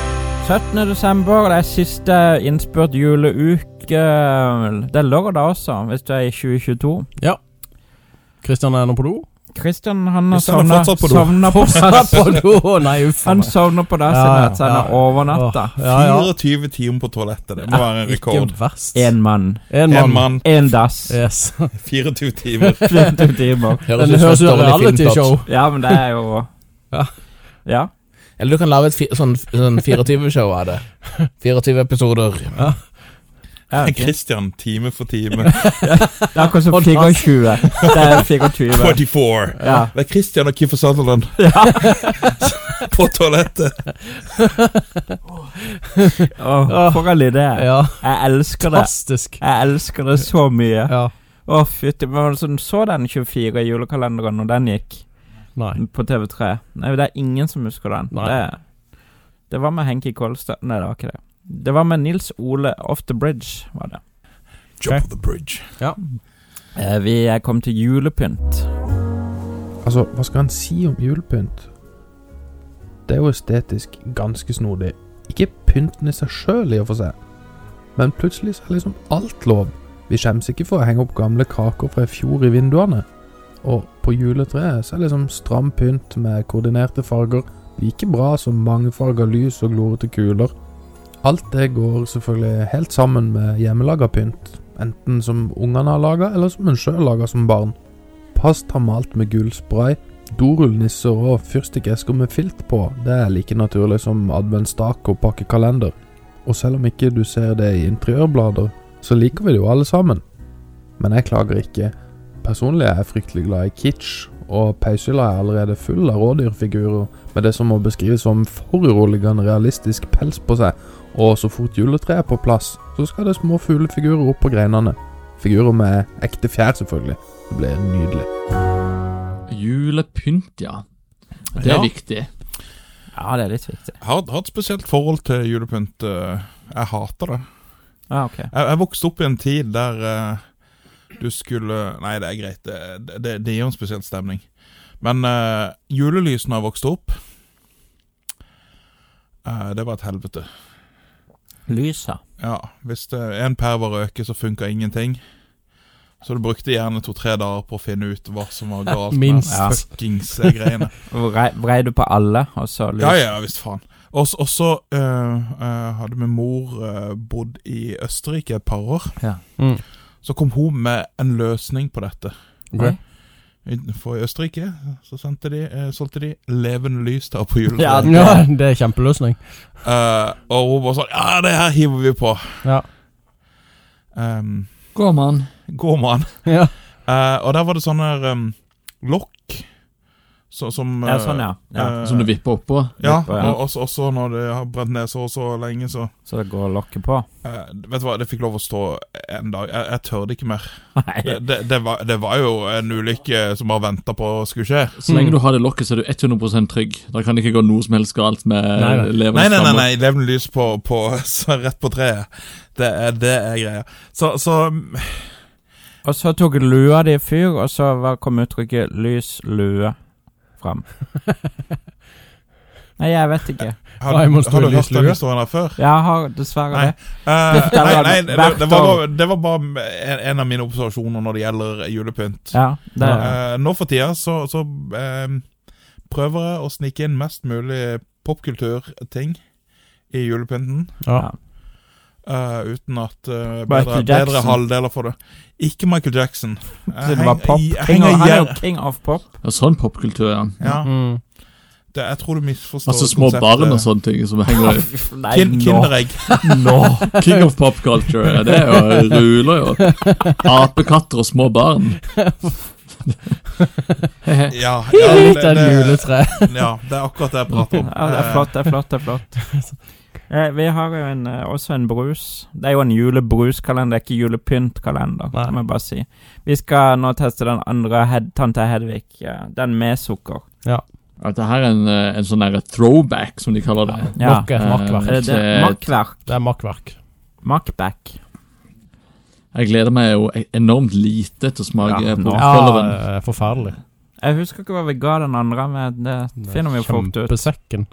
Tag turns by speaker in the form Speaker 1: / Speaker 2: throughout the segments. Speaker 1: 17. desember, det er siste innspurt juleuke. Det er lørdag også, hvis du er i 2022.
Speaker 2: Kristian er nå på do.
Speaker 1: Christian han har
Speaker 3: Christian er
Speaker 1: sovna
Speaker 3: fortsatt på do.
Speaker 1: sovna på
Speaker 2: på do! Nei, uff.
Speaker 1: Han sovner på dasset
Speaker 2: Ja, ja,
Speaker 1: ja, så han
Speaker 2: ja.
Speaker 1: er overnatta.
Speaker 2: Ja, ja.
Speaker 3: 24 timer på toalettet. Det må være en
Speaker 2: Ikke
Speaker 3: rekord.
Speaker 2: verst.
Speaker 1: Én mann,
Speaker 2: En
Speaker 3: En
Speaker 2: mann.
Speaker 3: mann,
Speaker 1: én dass.
Speaker 2: Yes.
Speaker 3: 24 timer.
Speaker 1: 24 timer.
Speaker 2: Men det høres ut som et realityshow.
Speaker 1: Ja, men det er jo
Speaker 2: Ja.
Speaker 1: Ja.
Speaker 4: Eller du kan lage et fi sånn, sånn 24-show av det. 24 episoder.
Speaker 1: ja ok.
Speaker 3: Christian, time for time.
Speaker 1: Det er akkurat som
Speaker 2: Og dass.
Speaker 1: 24. Det er 24.
Speaker 3: 24.
Speaker 1: Ja.
Speaker 3: Det er Christian og Kiefer Sutherland på toalettet.
Speaker 1: Åh, for en idé.
Speaker 2: Ja,
Speaker 1: Jeg elsker det.
Speaker 2: fantastisk.
Speaker 1: Jeg elsker det så mye.
Speaker 2: Ja.
Speaker 1: Å, fytti Hvem var det som så den 24 julekalenderen når den gikk
Speaker 2: Nei.
Speaker 1: på TV3? Nei, det er ingen som husker den.
Speaker 2: Nei.
Speaker 1: Det, det var med Henki Kolstad Nei, det var ikke det. Det var med Nils Ole Off The Bridge, var det.
Speaker 3: Jump of the bridge.
Speaker 1: Eh, Vi eh, kom til julepynt.
Speaker 5: Altså, hva skal han si om julepynt? Det er jo estetisk ganske snodig. Ikke pynten i seg sjøl, i og for seg, men plutselig så er liksom alt lov. Vi skjemmes ikke for å henge opp gamle kaker fra i fjor i vinduene. Og på juletreet så er liksom stram pynt med koordinerte farger like bra som mangefarga lys og glorete kuler. Alt det går selvfølgelig helt sammen med hjemmelaga pynt, enten som ungene har laga, eller som en sjøl laga som barn. Pasta malt med gullspray, dorullnisser og fyrstikkesker med filt på, det er like naturlig som adventsstake og pakkekalender. Og selv om ikke du ser det i interiørblader, så liker vi det jo alle sammen. Men jeg klager ikke. Personlig er jeg fryktelig glad i kitsch, og peishylla er allerede full av rådyrfigurer med det som må beskrives som foruroligende realistisk pels på seg, og så fort juletreet er på plass, så skal det små fuglefigurer opp på greinene. Figurer med ekte fjær, selvfølgelig. Det blir nydelig.
Speaker 6: Julepynt, ja. Det er
Speaker 3: Ja.
Speaker 6: viktig.
Speaker 1: Ja, det er litt viktig.
Speaker 3: Har, har et spesielt forhold til julepynt. eh, Jeg hater det.
Speaker 1: Ja, ok.
Speaker 3: Jeg, jeg vokste opp i en tid der eh, du skulle Nei, det er greit. Det, det, det gir en spesiell stemning. Men eh, julelys når jeg vokste opp eh, Det var et helvete.
Speaker 1: Lysa.
Speaker 3: Ja, hvis det er en perver røker, så funker ingenting. Så du brukte gjerne to-tre dager på å finne ut hva som var galt
Speaker 2: Minst.
Speaker 3: med fuckings eh, greiene.
Speaker 1: Vrei, vrei du på alle, og så lys?
Speaker 3: Ja, ja, visst faen. Og så- og så eh, eh, hadde min mor eh, bodd i Østerrike et par år.
Speaker 1: Ja.
Speaker 2: Mm.
Speaker 3: Så kom hun med en løsning på dette.
Speaker 1: Ok.
Speaker 3: I- For i Østerrike så sendte de, eh, solgte de levende lys der på juletreet.
Speaker 1: Ja,
Speaker 2: Ja, det er kjempeløsning.
Speaker 3: Eh, og hun bare sånn Ja, det her hiver vi på.
Speaker 2: Ja.
Speaker 3: Ehm,
Speaker 6: Går man.
Speaker 3: gå med den.
Speaker 2: Ja.
Speaker 3: Eh, og der var det sånne um, lokk så, som
Speaker 1: Ja,
Speaker 3: eh,
Speaker 1: sånn, ja. ja.
Speaker 3: eh,
Speaker 6: Som du vipper oppå.
Speaker 3: ja,
Speaker 1: på, ja.
Speaker 3: og også, også når det har brent ned så og så lenge, så
Speaker 1: Så det går å lokke på?
Speaker 3: Eh, vet du hva, det fikk lov å stå en dag. Jeg, jeg tør det ikke mer. Det,
Speaker 1: Nei.
Speaker 3: det, det, var, det var jo en ulykke som bare venta på skulle skje.
Speaker 6: Så
Speaker 2: Mm.
Speaker 6: lenge du har det lokket, så er du 100 trygg. Da kan det ikke gå noe som helst galt med
Speaker 2: Nei, nei.
Speaker 6: levende
Speaker 3: Nei, nei, nei,
Speaker 6: flammer.
Speaker 3: nei levende lys på, på så rett på treet. Det er, det er greia. Så, så mm,
Speaker 1: Og så tok lua di fyr, og så var, kom uttrykket 'lys lue' fram. Nei, jeg vet ikke.
Speaker 3: Har,
Speaker 2: Raymond
Speaker 3: har du
Speaker 2: Storlys
Speaker 3: hørt den
Speaker 2: lue.
Speaker 3: historien her før?
Speaker 1: Jeg har dessverre
Speaker 3: Nei.
Speaker 1: det.
Speaker 3: Eh,
Speaker 1: Det
Speaker 3: nei,
Speaker 1: var
Speaker 3: nei det,
Speaker 1: hvert
Speaker 3: det, var,
Speaker 1: år.
Speaker 3: bare- det var bare en, en av mine observasjoner når det gjelder julepynt.
Speaker 1: Ja, det
Speaker 3: Eh, nå for tida så, så eh, prøver jeg å snike inn mest mulig popkulturting i julepynten.
Speaker 2: Ja.
Speaker 3: Eh, uten at eh, bedre,
Speaker 1: Michael Jackson.
Speaker 3: bedre halvdeler får det. Ikke Michael Jackson. Jeg
Speaker 1: Så det
Speaker 3: heng-
Speaker 1: var pop.
Speaker 3: jeg
Speaker 1: King
Speaker 3: henger
Speaker 1: of, han er jo
Speaker 3: gjer-
Speaker 1: king of pop.
Speaker 6: Ja, sånn popkultur, ja.
Speaker 3: Ja,
Speaker 2: Mm.
Speaker 3: det, jeg tror du misforstår
Speaker 6: Altså små barn og sånne ting som henger
Speaker 1: Nei,
Speaker 3: Kin
Speaker 1: nå.
Speaker 3: kinderegg.
Speaker 6: King of popculture. ja, Det er jo ruler, jo. Apekatter og små barn.
Speaker 3: Ja,
Speaker 2: Ja,
Speaker 3: ja,
Speaker 2: Litt av et
Speaker 3: det,
Speaker 2: juletre.
Speaker 3: det, ja, det er akkurat det jeg prater om. Eh,
Speaker 1: Ja, det er flott, det er flott. det er flott eh, Vi har jo en, eh, også en brus. Det er jo en julebruskalender, det er ikke julepyntkalender.
Speaker 2: Nei.
Speaker 1: Det må jeg bare si Vi skal nå teste den andre hed, tante Hedvig. eh, Den med sukker.
Speaker 6: Dette her er en, eh, en sånn der throwback, som de kaller det.
Speaker 1: Ja.
Speaker 2: Makke, makkverk.
Speaker 1: Er det det?
Speaker 6: Eh,
Speaker 1: Makkverk.
Speaker 2: Det er makkverk.
Speaker 1: Makkback.
Speaker 6: Jeg gleder meg jo e- enormt lite til å smake
Speaker 1: Ja,
Speaker 6: ja,
Speaker 1: nå-
Speaker 6: popkulturen.
Speaker 2: eh, forferdelig.
Speaker 1: Jeg husker ikke hva vi ga den andre, men det finner vi jo fort ut.
Speaker 2: Kjempesekken.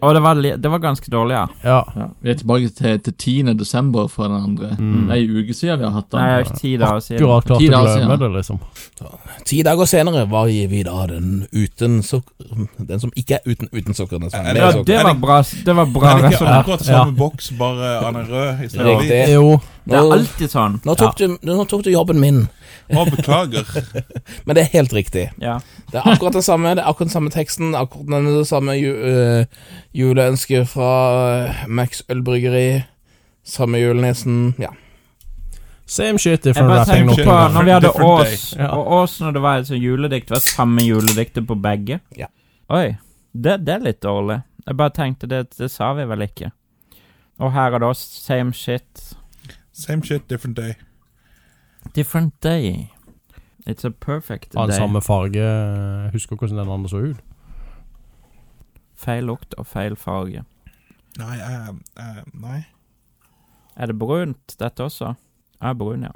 Speaker 1: Og det var, li- det var ganske dårlig, ja.
Speaker 2: Ja.
Speaker 6: Ja. Vi er tilbake til, til 10. desember fra den andre.
Speaker 2: Mm.
Speaker 6: Det er en uke siden vi har hatt den.
Speaker 1: Nei, jeg har ikke ti dager siden.
Speaker 2: Akkurat klart
Speaker 6: Ti
Speaker 2: å
Speaker 6: dager
Speaker 2: glemme
Speaker 6: siden.
Speaker 2: det, liksom.
Speaker 4: Ti dager senere var vi da den uten sukker... Den som ikke er uten, uten sukker. Den som er
Speaker 3: Ja,
Speaker 4: med
Speaker 1: Ja,
Speaker 4: sukker.
Speaker 1: det var bra, s- det var bra
Speaker 3: Er det ikke
Speaker 1: resultat.
Speaker 3: akkurat sånn? samme boks, bare han er rød istedenfor
Speaker 4: Riktig.
Speaker 3: hvit?
Speaker 2: Jo.
Speaker 1: Det er
Speaker 4: Nå-
Speaker 1: alltid sånn.
Speaker 4: Nå tok, du, nå tok du jobben min,
Speaker 3: Å, beklager.
Speaker 4: men det er helt riktig.
Speaker 1: Ja.
Speaker 4: Det er akkurat det samme, det er akkurat den samme teksten, akkurat den samme ju, øh, juleønsket fra øh, Max Ølbryggeri, samme julenissen, ja.
Speaker 2: Same shit,
Speaker 1: Jeg
Speaker 2: different
Speaker 1: bare
Speaker 2: wrapping.
Speaker 1: tenkte
Speaker 3: Different
Speaker 1: på
Speaker 3: day.
Speaker 1: når vi hadde
Speaker 3: Different day.
Speaker 1: Ås,
Speaker 2: Ja.
Speaker 1: og Ås når det var et sånt juledikt, var samme julediktet på begge.
Speaker 4: Ja.
Speaker 1: Oi, det, det er litt dårlig. Jeg bare tenkte, det, det sa vi vel ikke. Og her er det også same shit,
Speaker 3: Same shit, different day.
Speaker 1: different day. It's a perfect
Speaker 2: Av den
Speaker 1: day.
Speaker 2: samme farge. Husker ikke hvordan den andre så ut.
Speaker 1: Feil lukt og feil farge.
Speaker 3: Nei, eh, eh, nei.
Speaker 1: Er det brunt, dette også? Ja, brun, ja.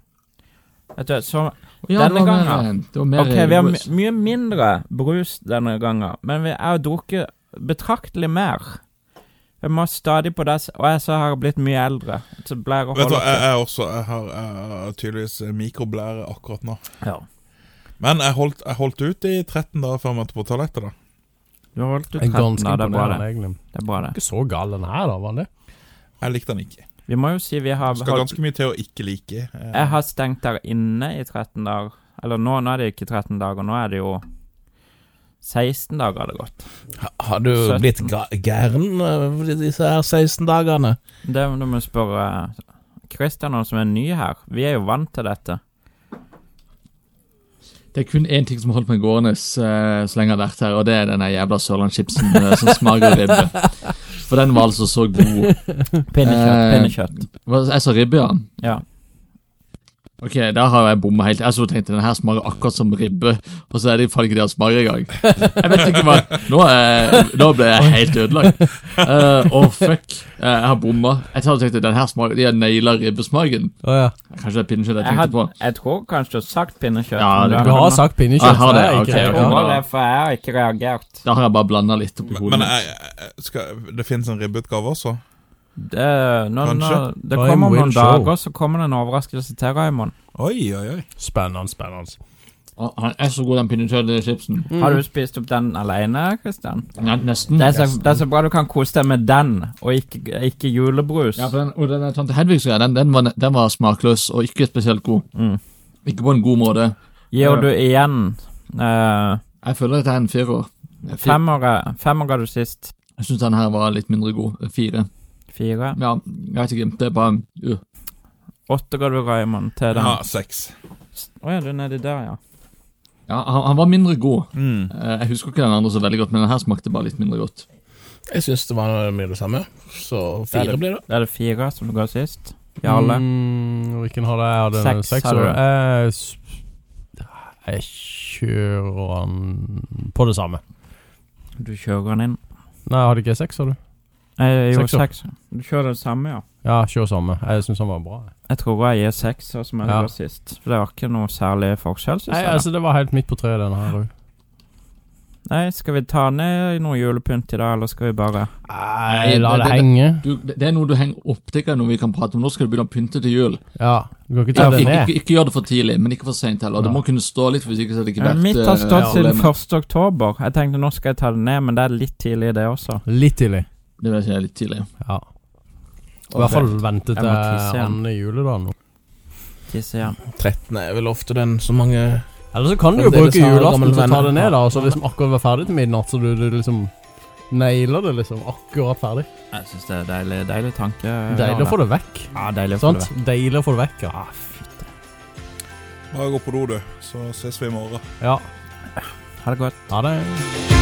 Speaker 1: Vet du, så
Speaker 6: Ja, det
Speaker 1: Denne
Speaker 6: var mer-
Speaker 1: gangen.
Speaker 6: Det var mer
Speaker 1: Ok, vi har my
Speaker 6: brus.
Speaker 1: mye mindre brus denne gangen, men vi har drukket betraktelig mer. Jeg må stadig på det, s- og jeg så har blitt mye eldre. Så blæra
Speaker 3: Vet du
Speaker 1: holder
Speaker 3: hva, jeg,
Speaker 1: ikke.
Speaker 3: jeg, også, jeg har jeg, har tydeligvis mikroblære akkurat nå.
Speaker 1: Ja.
Speaker 3: Men jeg holdt, jeg holdt ut i 13 dager før jeg måtte på toalettet, da.
Speaker 1: Du har holdt ut
Speaker 2: En
Speaker 1: 13,
Speaker 2: ganske
Speaker 1: da. Det er bra,
Speaker 2: imponerende,
Speaker 1: det.
Speaker 2: egentlig.
Speaker 1: det er bra det.
Speaker 2: Ikke så gal den her, da, var den det?
Speaker 3: Jeg likte den ikke.
Speaker 1: Vi må jo si vi har
Speaker 3: Skal
Speaker 1: holdt
Speaker 3: ganske mye til å ikke like. eh.
Speaker 1: Jeg har stengt der inne i 13 dager. Eller nå, nå er det ikke 13 dager, nå er det jo 16 dager har det gått.
Speaker 4: Ha- Har du
Speaker 1: Søtten.
Speaker 4: blitt ga- gæren øh, over disse her 16 dagene?
Speaker 1: Det må du spørre Christian om, som er ny her. Vi er jo vant til dette.
Speaker 6: Det er kun én ting som har holdt meg gående eh, så lenge jeg har vært her, og det er denne jævla sørlandschipsen eh, som smaker ribbe. For den var altså så god.
Speaker 1: Pinnekjøtt,
Speaker 6: Eh,
Speaker 1: pinnekjøtt.
Speaker 6: Hva- Jeg sa ribbe, ja.
Speaker 1: Ja.
Speaker 6: Ok, der har jeg bomma helt. Jeg så tenkte den her smaker akkurat som ribbe, og så er det i fall ikke det den smaker engang. Jeg vet ikke hva Nå, er, nå ble jeg helt ødelagt. Eh, Å, fuck. Eh, jeg har bomma. Jeg hadde tenkt at den her smaker De har naila ribbesmaken.
Speaker 2: Å ja.
Speaker 6: Kanskje det er pinnekjøtt jeg
Speaker 1: Jeg,
Speaker 6: tenkte
Speaker 1: had,
Speaker 6: på.
Speaker 1: jeg tror kanskje du har sagt pinnekjøtt.
Speaker 6: Ja,
Speaker 1: men
Speaker 6: det-
Speaker 2: Du
Speaker 1: har
Speaker 2: har
Speaker 1: nå-
Speaker 2: sagt pinnekjøtt.
Speaker 6: Ah, jeg har det,
Speaker 2: er
Speaker 6: ok,
Speaker 2: ikke-
Speaker 1: Jeg
Speaker 6: ok.
Speaker 2: ja.
Speaker 1: tror det, for jeg har ikke reagert.
Speaker 6: Da har jeg bare blanda litt oppi hodet.
Speaker 3: Men
Speaker 6: mitt.
Speaker 3: jeg, jeg- skal, det finnes en ribbeutgave også?
Speaker 1: Det, nå, nå,
Speaker 3: Kanskje.
Speaker 1: det
Speaker 2: Time
Speaker 1: kommer om
Speaker 2: will
Speaker 1: noen
Speaker 2: show.
Speaker 1: dager, så kommer det en overraskelse til Raymond.
Speaker 3: Oi, oi, oi.
Speaker 2: Spennende, spennende.
Speaker 6: Å, Han er så god, den pinnekjøttchipsen.
Speaker 1: Har du spist opp den alene, Kristian?
Speaker 6: Ja, nesten.
Speaker 1: Det er, så, det er så bra du kan kose deg med den, og ikke, ikke julebrus.
Speaker 6: Ja, for den, og den tante Hedvigs-greia, den, den, var- den var smakløs og ikke spesielt god.
Speaker 1: Mm.
Speaker 6: Ikke på en god måte.
Speaker 1: Gir du igjen uh,
Speaker 6: Jeg føler at det er en firer. Fi-
Speaker 1: femmere? Fem ga du sist.
Speaker 6: Jeg syns den her var litt mindre god. Fire.
Speaker 1: Fire.
Speaker 6: Ja, jeg vet ikke. Det er bare uh.
Speaker 1: Åtte ga du Raymond til den. Å
Speaker 3: Ja, seks.
Speaker 1: ja, du er nedi der, ja.
Speaker 6: Ja, han, han var mindre god.
Speaker 3: Mm.
Speaker 6: Eh, Jeg husker ikke den andre så veldig godt, men den her smakte bare litt mindre godt.
Speaker 4: Jeg synes det var mye det samme, så
Speaker 1: Ja,
Speaker 4: fire blir det.
Speaker 1: Da er det fire som du ga sist. Jarle.
Speaker 2: Mm, hvilken har det? Jeg hadde en
Speaker 1: Seks,
Speaker 2: seks.
Speaker 1: hadde
Speaker 2: og-
Speaker 1: du.
Speaker 2: Jeg, s- jeg kjører han på det samme.
Speaker 1: Du kjører den inn.
Speaker 2: Nei, jeg hadde ikke seks, sa du?
Speaker 1: Jeg gjorde
Speaker 2: Sekser.
Speaker 1: seks. Du kjører den samme, ja.
Speaker 2: Ja, kjør samme. Jeg syns han var bra. jeg.
Speaker 1: Jeg tror jeg gir seks, sånn som jeg
Speaker 2: Ja.
Speaker 1: ga sist. For det var ikke noe særlig forskjell, synes
Speaker 2: Nei,
Speaker 1: jeg. da.
Speaker 2: altså Det var helt midt på treet, denne her òg.
Speaker 1: Nei, skal vi ta ned noe julepynt i dag, eller skal vi bare
Speaker 2: Nei, la
Speaker 6: det-
Speaker 2: det
Speaker 6: det-
Speaker 2: henge.
Speaker 6: Du, det det er noe du henger opp til når vi kan prate om. Nå skal du begynne å pynte til jul.
Speaker 2: Ja, Du kan ikke ta
Speaker 6: Ikke,
Speaker 2: det
Speaker 6: ikke,
Speaker 2: ned.
Speaker 6: ikke, gjør det for tidlig, men ikke for seint heller. Det
Speaker 2: Ja.
Speaker 6: må kunne stå litt, hvis ikke så hadde det ikke
Speaker 1: Ja,
Speaker 6: vært
Speaker 1: Mitt har
Speaker 6: eh,
Speaker 1: stått siden
Speaker 6: problemet.
Speaker 1: 1. oktober. Jeg tenkte nå skal jeg ta det ned, men det er litt tidlig, det også.
Speaker 2: Litt tidlig.
Speaker 6: Det vet jeg er litt tidlig.
Speaker 2: Ja. I hvert fall vente
Speaker 1: Jeg
Speaker 2: til
Speaker 1: må tisse igjen.
Speaker 2: andre jule, da. Nå.
Speaker 1: Tisse igjen.
Speaker 4: 13 er vel ofte den så mange
Speaker 2: Eller så kan du
Speaker 4: Men
Speaker 2: jo
Speaker 4: det er
Speaker 2: bruke
Speaker 4: disse her
Speaker 2: julaften
Speaker 4: gamle
Speaker 2: til å ta
Speaker 4: venner.
Speaker 2: det ned, da. Og så liksom akkurat være ferdig til midnatt, så du, du liksom nailer det liksom akkurat ferdig.
Speaker 1: Jeg syns det er deilig, deilig tanke.
Speaker 2: Deilig å få det vekk.
Speaker 1: Ja, deilig å få
Speaker 2: Sant?
Speaker 1: det.
Speaker 2: Deilig å få det vekk, ja.
Speaker 3: Bare gå på do, du, så ses vi i morgen.
Speaker 2: Ja,
Speaker 1: Ha det godt.
Speaker 2: ha det.